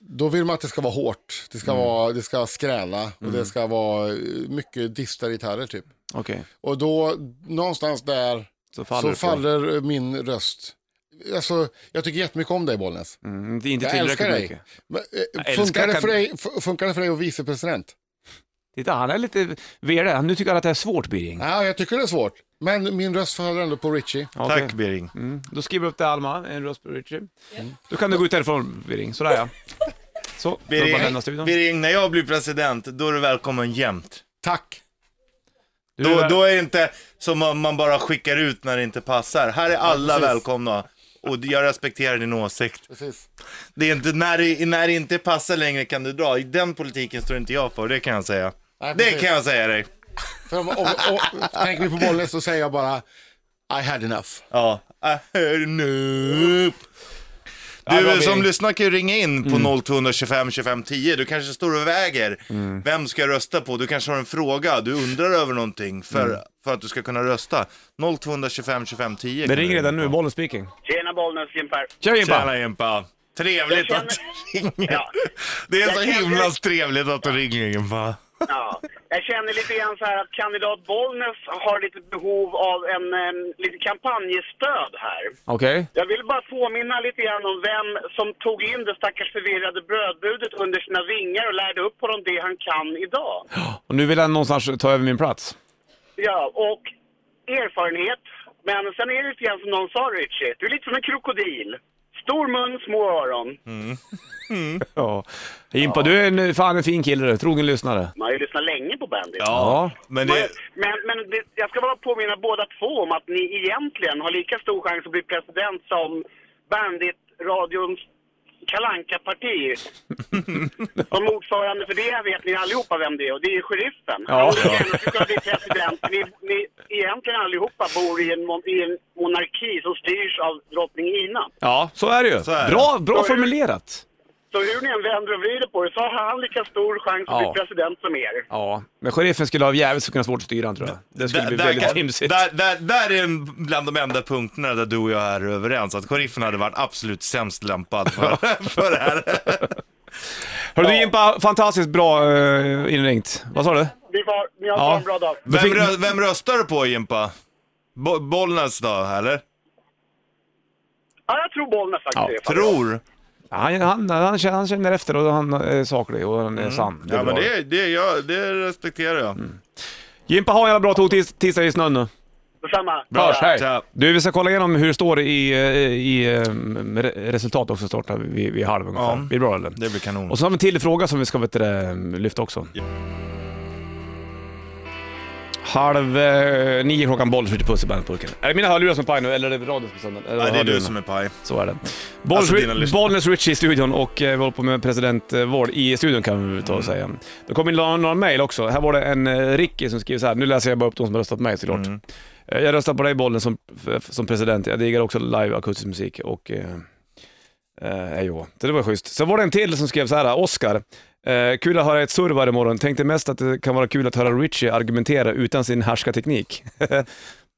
då vill man att det ska vara hårt. Det ska, vara, det ska skräla och Mm. det ska vara eh, mycket distade gitarrer typ. Okej, Och då någonstans där så faller så du på. faller eh, min röst. Alltså, jag tycker jättemycket om dig Bollnäs. Mm, det är inte Jag tillräckligt älskar dig. mycket. Men, eh, Jag älskar funkar, det kan- för dig, fu- funkar det för dig att vicepresident? Titta, han är lite velig. Han- Nu tycker han att det är svårt, Birging. Ja, jag tycker det är svårt. Men min röst faller ändå på Richie. Okej. Tack Bering. Mm. Då skriver vi upp det Alma, en röst på Richie. Mm. Då kan du gå ut därifrån, Birging. Sådär ja. Så, då bara lämna Birging, studion. Birging, när jag blir president, då är du välkommen jämt. Tack! Du, Då, är- då är det inte som om man bara skickar ut när det inte passar. Här är alla precis. välkomna. Och jag respekterar din åsikt. Precis. Det är inte, när, det, när det inte passar längre kan du dra. I den politiken står inte jag för, det kan jag säga. Nej, det precis. kan jag säga dig. För om, om, om, tänker vi på Bollnäs så säger jag bara I had enough. Ja. I heard no. Ja, bra, Äh, Du som Birging. lyssnar kan ju ringa in Mm. på 0225 25 10. Du kanske står och väger. Mm. Vem ska jag rösta på? Du kanske har en fråga. Du undrar över någonting för, Mm. för att du ska kunna rösta. 0225 25 10. Det ringer redan nu, bollen speaking. Tjena Bollnäs, Jim Per. Tja Jimpa! Tjena Jimpa. Trevligt Jag att du känner- ringer. Ja. Det är Jag så känner- himla trevligt att du ringer Jimpa. Ja. Jag känner lite grann så här att kandidat Bollnäs har lite behov av en, em, lite kampanjestöd här. Okej. Jag vill bara påminna lite grann om vem som tog in det stackars förvirrade brödbudet under sina vingar och lärde upp honom det han kan idag. Och nu vill han någonstans ta över min plats. Ja, och erfarenhet. Men sen är det lite grann som någon sa, Richie. Du är lite som en krokodil. Stor mun, små öron. Ja. Jimpa, du är en, fan en fin kille du. Trogen lyssnare. Man har ju lyssnat länge på Bandit. Ja. Men Men, det, men, men det, jag ska bara påminna båda två om att ni egentligen har lika stor chans att bli president som Bandit-radions kalanka *laughs* parti Som ordförande för det vet ni allihopa vem det är och det är sheriffen. Ja. Han vill gärna att du ska bli president. Ni, ni egentligen allihopa bor i en, mon- i en monarki som styrs av drottning Ina. Ja, så är det ju. Så är det. Bra, bra Så är det. formulerat. Så hur ni än vänder och vrider på det så har han lika stor chans att Ja. bli president som er. Ja, men sheriffen skulle ha jävligt så kunna svårt att styra han tror jag. Det skulle där, bli där, väldigt kan- himsigt. där, där, där är en bland de enda punkterna där du och jag är *laughs* överens. Att sheriffen hade varit absolut sämst lämpad för, för det här. Hörru du Jimpa, fantastiskt bra eh, inringt. Vad sa du? Vi får, ni har Ja. en bra dag. Då Vem, fick- rö- vem röstar du på Jimpa? Bo- Bollnäs då, eller? Ja, jag tror Bollnäs Ja, faktiskt. Ja, Tror? Han, han, han, känner- han känner efter och han är saklig och han är sann. Det är Mm. Ja, bra. men det, det, jag, det respekterar jag. Jimpa, ha en jävla bra tog tis- tisdag i snön nu. Detsamma. Hörs, hej! Tja. Du, vi ska kolla igenom hur det står i, eh, i eh, re- resultat också, startar vid, vid halv ungefär. Ja. Blir det bra eller? Det blir kanon. Och så har vi en till fråga som vi ska vet du, det, lyfta också. Halv eh, nio klockan, boll skjuter puss i bandetburken. Är det mina hörlurar som är paj nu eller är det radion som är sönder? Eller Nej, det är du hörlurarna? som är paj. Så är det. Bollnäs Alltså, dina lyssnare. Bollnäs Richie i studion och eh, vi håller på med presidentval i studion kan vi ta Mm. och säga. Det kom in några, några mejl också. Här var det en eh, Ricky som skrev så här. nu läser jag bara upp de som har röstat på mig såklart. Mm. Eh, Jag röstar på dig Bollnäs som, f- som president. Jag diggar också live akustisk musik och eh, eh, eh, jo. Så det var schysst. Sen var det en till som skrev så här, Oscar. Eh, kul att höra ett surr varje morgon. Tänkte mest att det kan vara kul att höra Richie argumentera utan sin härskarteknik. *laughs*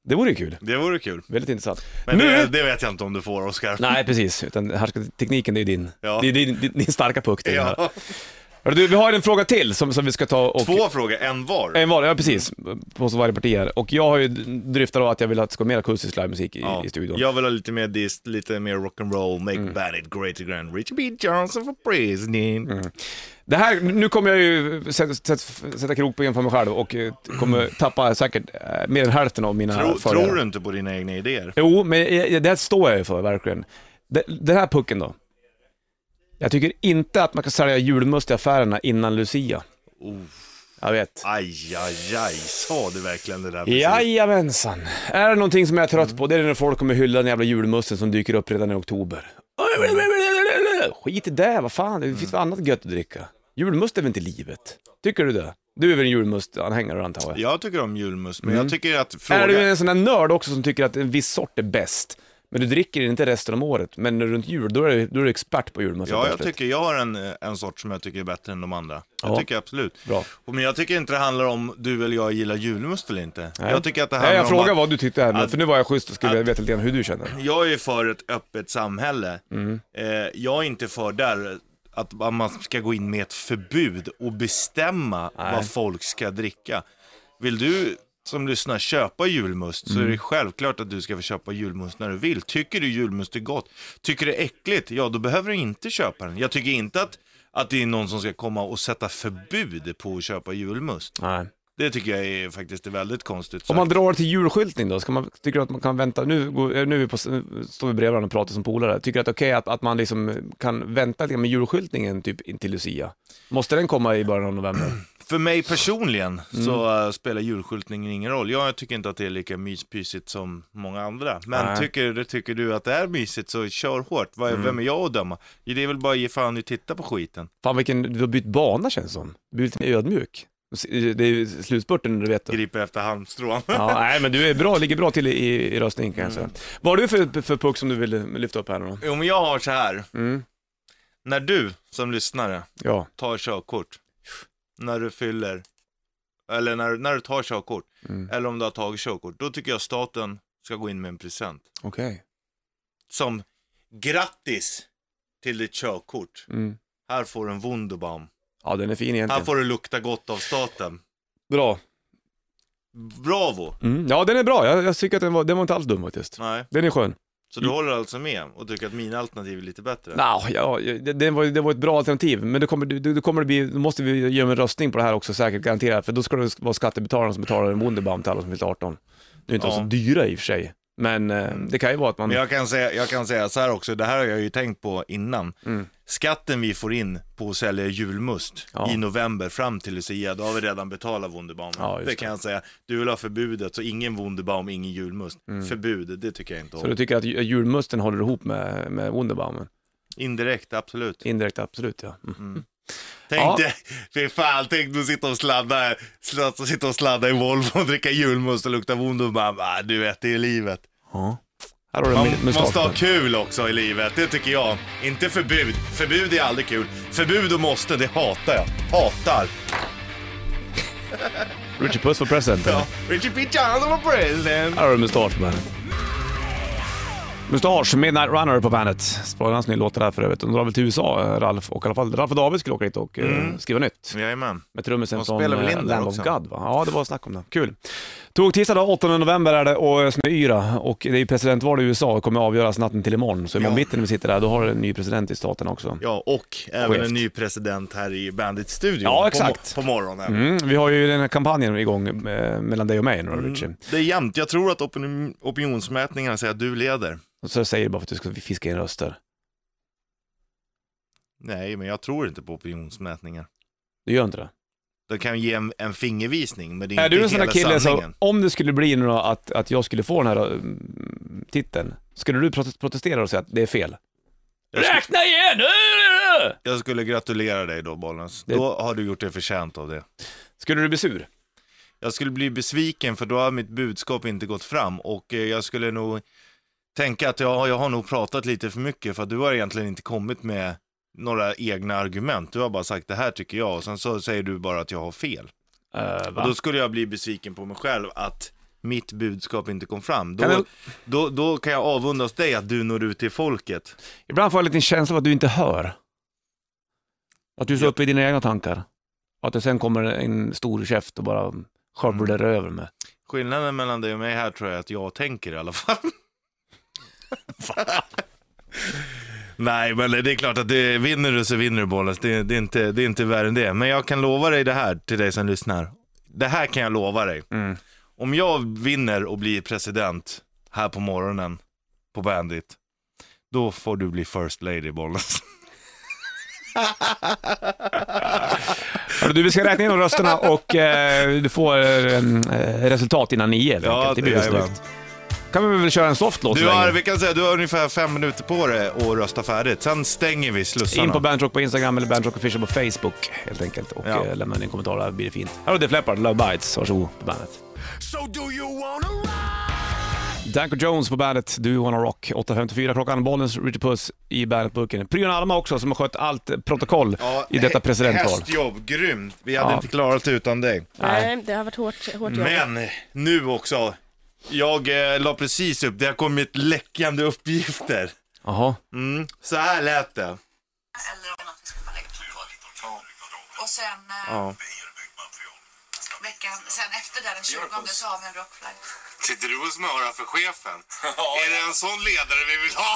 det vore ju kul. Det vore kul. Väldigt intressant. Men Nu- det, det vet jag inte om du får, Oskar. Nej, precis. Utan härskartekniken, det är din. Ja. Det är din, din, din starka puck. Det ja. Ja. du, vi har en fråga till som, som vi ska ta och... Två frågor, en var. En var, ja precis. På så varje parti här. Och jag har ju dryftat då att jag vill att det ska vara mer akustisk livemusik i, Ja. i studion. Mm. Jag vill ha lite mer dist, lite mer rock'n'roll, make Bandit great again, Richard B. Johnson for president. Det här, nu kommer jag ju sätta, sätta, sätta krokben för mig själv och eh, kommer tappa säkert eh, mer än hälften av mina Tro, följare. tror du inte på dina egna idéer? Jo, men jag- jag- det här står jag ju för verkligen. Det- Den här pucken då. Jag tycker inte att man kan sälja julmust i affärerna innan Lucia. Jag vet. Aj, aj, aj, sa du verkligen det där Jajamensan. Är det någonting som jag är trött på, det är när folk kommer hylla den jävla julmusten som dyker upp redan i oktober. Skit i det, vad fan, det Mm. finns väl annat gött att dricka. Julmust är väl inte livet? Tycker du det? Du är väl en julmustanhängare antar jag? Jag tycker om julmust, men jag tycker att Mm. Är fråga... du en sån där nörd också som tycker att en viss sort är bäst, men du dricker den inte resten av året, men runt jul, då är du, då är du expert på julmust. helt Ja, jag plötsligt. tycker jag har en, en sort som jag tycker är bättre än de andra. Jag Ja. tycker absolut. Bra. Och, men jag tycker inte det handlar om du eller jag gillar julmust eller inte. Nej. Jag tycker att det handlar Nej, jag om frågar att vad du tyckte här nu, att- för nu var jag schysst och skulle att- veta lite grann hur du känner. jag är för ett öppet samhälle. Mm. Eh, jag är inte för där att att man ska gå in med ett förbud och bestämma vad folk ska dricka. Vill du som lyssnar köpa julmust Mm. så är det självklart att du ska få köpa julmust när du vill. Tycker du julmust är gott, tycker det är äckligt, ja då behöver du inte köpa den. Jag tycker inte att, att det är någon som ska komma och sätta förbud på att köpa julmust. Nej. Det tycker jag är faktiskt är väldigt konstigt. Om man drar det till julskyltning då, ska man, tycker du att man kan vänta, nu, går- eh, nu är vi på, står vi bredvid varandra och pratar som polare, tycker du att det är okej att, att man liksom kan vänta lite med julskyltningen typ in till Lucia? Måste den komma i början av november? *clears throat* För mig personligen så eh, Mm. spelar julskyltningen ingen roll. Jag tycker inte att det är lika myspysigt som många andra. Men Nej. Mm. tycker, tycker du att det är mysigt så kör hårt. Vad, Vem är jag att döma? Det är väl bara att ge fan i att titta på skiten. Fan vilken, du har bytt bana känns det som. Du är lite mer ödmjuk. Det är ju slutspurten du vet. Griper efter halmstrån. *laughs* Ja, nej men du är bra, ligger bra till i, i, i röstning kan jag säga. Vad har du för, för puck som du vill eh, lyfta upp här nu då? Jo men jag har så här. Mm. När du som lyssnare Ja, tar körkort, när du fyller, eller när, när du tar körkort, Mm. eller om du har tagit körkort, då tycker jag staten ska gå in med en present. okej. Som grattis till ditt körkort. Mm. Här får du en Wunderbaum. Ja den är fin Här egentligen. får du lukta gott av staten. Bra. Bravo! Mm. Ja den är bra, jag, jag tycker att den var, den var inte alls dum faktiskt. Nej, Den är skön. så Mm. du håller alltså med och tycker att mina alternativ är lite bättre? Nå, ja, det, det, var, det var ett bra alternativ, men då kommer, det- det kommer det bli, då måste vi göra en röstning på det här också säkert, garanterat, för då ska det vara skattebetalarna som betalar en Wunderbaum till alla som fyllt 18. Nu är inte de Ja. så dyra i och för sig, men eh, det kan ju vara att man... Men jag kan, säga, jag kan säga så här också, det här har jag ju tänkt på innan. Mm. Skatten vi får in på att sälja julmust Ja. i november fram till Lucia, då har vi redan betalat Wunderbaum. Ja, det just kan det. jag säga. Du vill ha förbudet, så ingen Wunderbaum, ingen julmust. Förbud, det tycker jag inte Mm. Så om. du tycker att ju- julmusten håller ihop med, med Wunderbaumen? Indirekt, absolut. Indirekt, absolut ja. Mm. Tänk dig, fy fan, tänk du sitta och sladda, sladda, sitta och sladda i Volvo och dricka julmust och lukta Wunderbaum. Ah, du vet, det är livet. Ja. Här har du Man min- min måste ha startpunkt. kul också i livet, det tycker jag. Inte förbud. Förbud är aldrig kul. Förbud och måste, det hatar jag. Hatar. Richard Puss för present. Ja. Richard P. Johnson var president. Här har du mustasch på Mustasch, Midnight Runner på bandet. Spelade hans nya låt där för övrigt. De drar väl till USA, eh, Ralf och i alla fall Ralf och David skulle åka dit och eh, skriva nytt. Jajamän. Med trummisen De från spelar väl eh, in där Lamb of också? God va? Ja, det var snack om det. Kul. Tog tisdag då, 8 november är det och eh, snöyra och det är ju presidentval i USA och kommer avgöras natten till imorgon. Så imorgon Ja. bitti när vi sitter där, då har du en ny president i staten också. Ja, och även Chef. en ny president här i Bandit-studion Ja, på exakt. mo- på, morgonen. Mm, vi har ju den här kampanjen igång eh, mellan dig och mig nu Mm. då, Richie. Det är jämnt. Jag tror att opinion, opinionsmätningarna säger att du leder. Och Så säger du bara för att du ska fiska in röster. Nej, men jag tror inte på opinionsmätningar. Du gör inte det? Det kan ju ge en, en fingervisning, men det är Är inte du en sån hela där kille som, sanningen. om det skulle bli nu då att, att jag skulle få den här mm, titeln, skulle du protest- protestera och säga att det är fel? Jag, sk- Räkna igen! jag skulle gratulera dig då, Bollens. Det- Då har du gjort dig förtjänt av det. Skulle du bli sur? Jag skulle bli besviken, för då har mitt budskap inte gått fram. Och eh, jag skulle nog tänka att jag, jag har nog pratat lite för mycket, för att du har egentligen inte kommit med några egna argument. Du har bara sagt det här tycker jag, och sen så säger du bara att jag har fel. Uh, Och då skulle jag bli besviken på mig själv att mitt budskap inte kom fram. Då, Kan jag- då, då kan jag avundas dig att du når ut till folket. Ibland får jag en liten känsla av att du inte hör. Att du är så uppe i dina egna tankar. Och att det sen kommer en stor käft och bara Mm. skövlar över mig. Skillnaden mellan dig och mig här tror jag är att jag tänker i alla fall. *laughs* Nej, men det är klart att det, vinner du så vinner du bollen. Det, det, är inte, det är inte värre än det. Men jag kan lova dig det här till dig som lyssnar. Det här kan jag lova dig. Mm. Om jag vinner och blir president här på morgonen på Bandit, då får du bli first *laughs* lady Bollnäs. Hörru Du, vi ska räkna in de *laughs* rösterna och eh, du får eh, en, eh, resultat innan nio helt Ja, enkelt. Det blir väl jajamän. snyggt. kan vi väl köra en soft låt så Du har, länge. vi kan säga, du har ungefär fem minuter på dig att rösta färdigt. Sen stänger vi slussarna. In på Bandrock på Instagram eller Bandrock Official på Facebook helt enkelt och Ja. eh, lämna in en kommentar där blir det fint. Här har Def Leppard, Love Bites, varsågod på bandet. Danko Jones på bandet, du Wanna Rock, 8.54 klockan, Bollens Richard Puss i bandetburken. Pryon Alma också som har skött allt eh, protokoll Ja, i detta hä- presidentval. Hästjobb, grymt. Vi hade Ja. inte klarat det utan dig. Nej. Nej, det har varit hårt, hårt jobb. Men nu också. Jag eh, la precis upp, det har kommit läckande uppgifter. Jaha, Mm. Så här lät det. eller om någonting skulle man lägga på golvet. Och sen eh, Ja. veckan, sen efter där den 20 så har vi en rockflight. Sitter du och smörar för chefen? är det en sån ledare vi vill ha?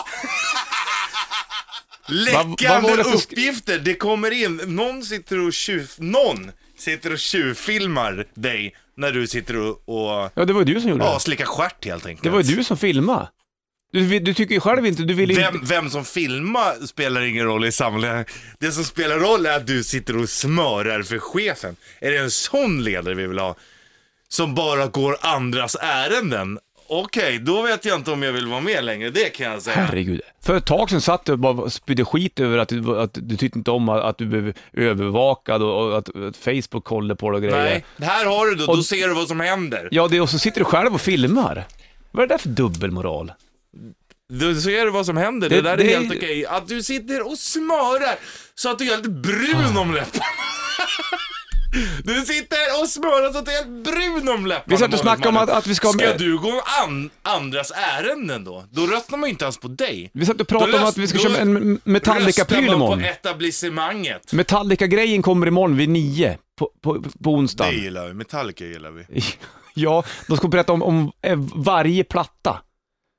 vad *laughs* Läckande var det för sk- uppgifter, det kommer in. Någon sitter och tjuv... Någon sitter och tjuvfilmar dig när du sitter och, och ja det var ju du som gjorde ja, det. slickar stjärt helt enkelt. Det var ju du som filmade. Du, du tycker ju själv inte, du vill inte... Vem, vem som filmar spelar ingen roll i sammanhanget. Det som spelar roll är att du sitter och smörar för chefen. Är det en sån ledare vi vill ha? Som bara går andras ärenden? Okej, då vet jag inte om jag vill vara med längre, det kan jag säga. Herregud. För ett tag sedan satt du och bara spydde skit över att du, att du tyckte inte om att, att du blev övervakad och, och att, att Facebook kollade på dig och grejer. Nej, här har du då, då Och- ser du vad som händer. Ja, det, och så sitter du själv och filmar. Vad är det där för dubbelmoral? Då ser du vad som händer, det, Det- där det- är helt okej. Att du sitter och smörar så att du är helt brun om läpparna. *laughs* Du sitter och smörar så att du är helt brun om läpparna. Vi satt och snackade om Malin. att- att vi ska ha Ska med- du gå an, andras ärenden då? Då röstar man ju inte ens på dig. Vi satt och pratade om Då att vi ska röst- köpa då en Metallica-pryl röstar man imorgon. på etablissemanget. Metallica-grejen kommer imorgon vid nio på, på, på Det onsdag. gillar vi, Metallica gillar vi. *laughs* Ja, de ska berätta om, om eh, varje platta.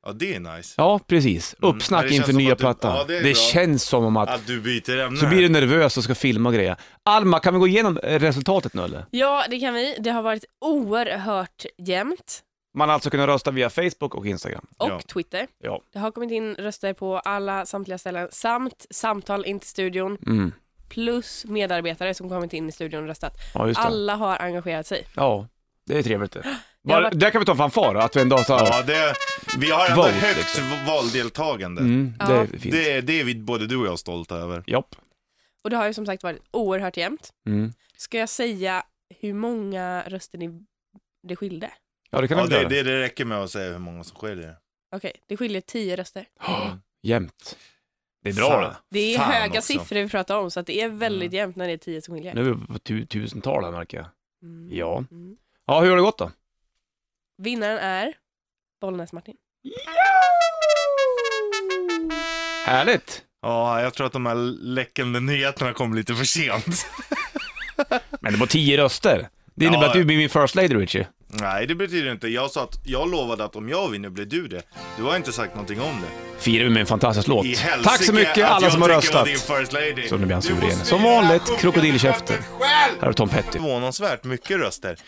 Ja, det är nice. Ja, precis. Uppsnack men Mm. det inför känns som nya att du- plattan. ja, det det är bra. känns som att, Att du byter ämne. så blir du nervös och ska filma och grejer. Alma, kan vi gå igenom eh, resultatet nu eller? Ja, det kan vi. Det har varit oerhört jämnt. Man har alltså kunnat rösta via Facebook och Instagram. Och Ja. Twitter. Ja. Det har kommit in röster på alla samtliga ställen samt samtal in till studion Mm. plus medarbetare som kommit in i studion och röstat. Ja, just det. Alla har engagerat sig. Ja, det är trevligt det. Det har Var, varit- Där kan vi ta en fanfar, att vi en dag så här, Ja, det, vi har ändå Vote, högt liksom. valdeltagande. mm, det är fint. Det, det är vi, både du och jag stolta över. Japp. Och det har ju som sagt varit oerhört jämnt. Mm. Ska jag säga hur många röster ni, det skilde? Ja, det kan Ja, vi det, göra. det, det räcker med att säga hur många som skiljer. Okej, det skiljer tio röster. Jämt. Det är bra Fan. det. Det är Fan höga också. siffror vi pratar om så att det är väldigt jämnt när det är tio som skiljer. Nu är vi på tu- tusental här märker jag. Mm. Ja. Mm. Ja, hur har det gått då? Vinnaren är Bollnäs-Martin. Härligt! Ja, jag tror att de här läckande nyheterna kom lite *laughs* för sent. Men det var tio röster. Det innebär Ja. att du blir min first lady, Richie. Nej, det betyder inte. Jag sa att jag lovade att om jag vinner blir du det. Du har inte sagt någonting om det. Firar vi med en fantastisk låt. I helsike Tack så mycket att alla jag som har tänker vara röstat. din first lady. Så nu blir han Du suverän. måste Som göra vanligt, sjutton krokodilkäften. själv. Här har Tom Petty. Förvånansvärt mycket röster.